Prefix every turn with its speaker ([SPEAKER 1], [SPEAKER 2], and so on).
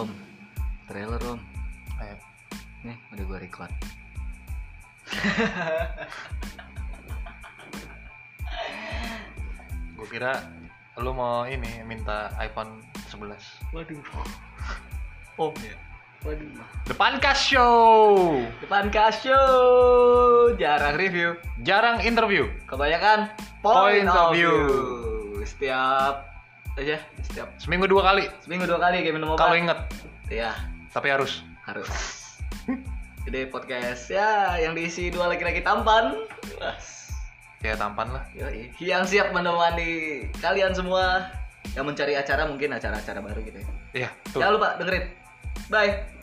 [SPEAKER 1] Om, trailer om.
[SPEAKER 2] Ayo.
[SPEAKER 1] Nih, udah gue record.
[SPEAKER 2] Gue kira lu mau ini minta iPhone 11.
[SPEAKER 1] Waduh, ya?
[SPEAKER 2] Oh,
[SPEAKER 1] waduh.
[SPEAKER 2] Depan Kas Show.
[SPEAKER 1] Depan kasio, jarang review.
[SPEAKER 2] Jarang interview.
[SPEAKER 1] Kebanyakan point, of view. Setiap aja, setiap
[SPEAKER 2] Seminggu dua kali.
[SPEAKER 1] seminggu dua kali kayak minum obat.
[SPEAKER 2] Kalau inget,
[SPEAKER 1] ya
[SPEAKER 2] tapi harus.
[SPEAKER 1] harus. Jadi podcast ya yang diisi dua laki-laki tampan. Was.
[SPEAKER 2] Ya tampan lah.
[SPEAKER 1] Yoi. Yang siap menemani kalian semua yang mencari acara mungkin acara-acara baru gitu ya.
[SPEAKER 2] Iya, tuh.
[SPEAKER 1] Jangan lupa dengerin. Bye.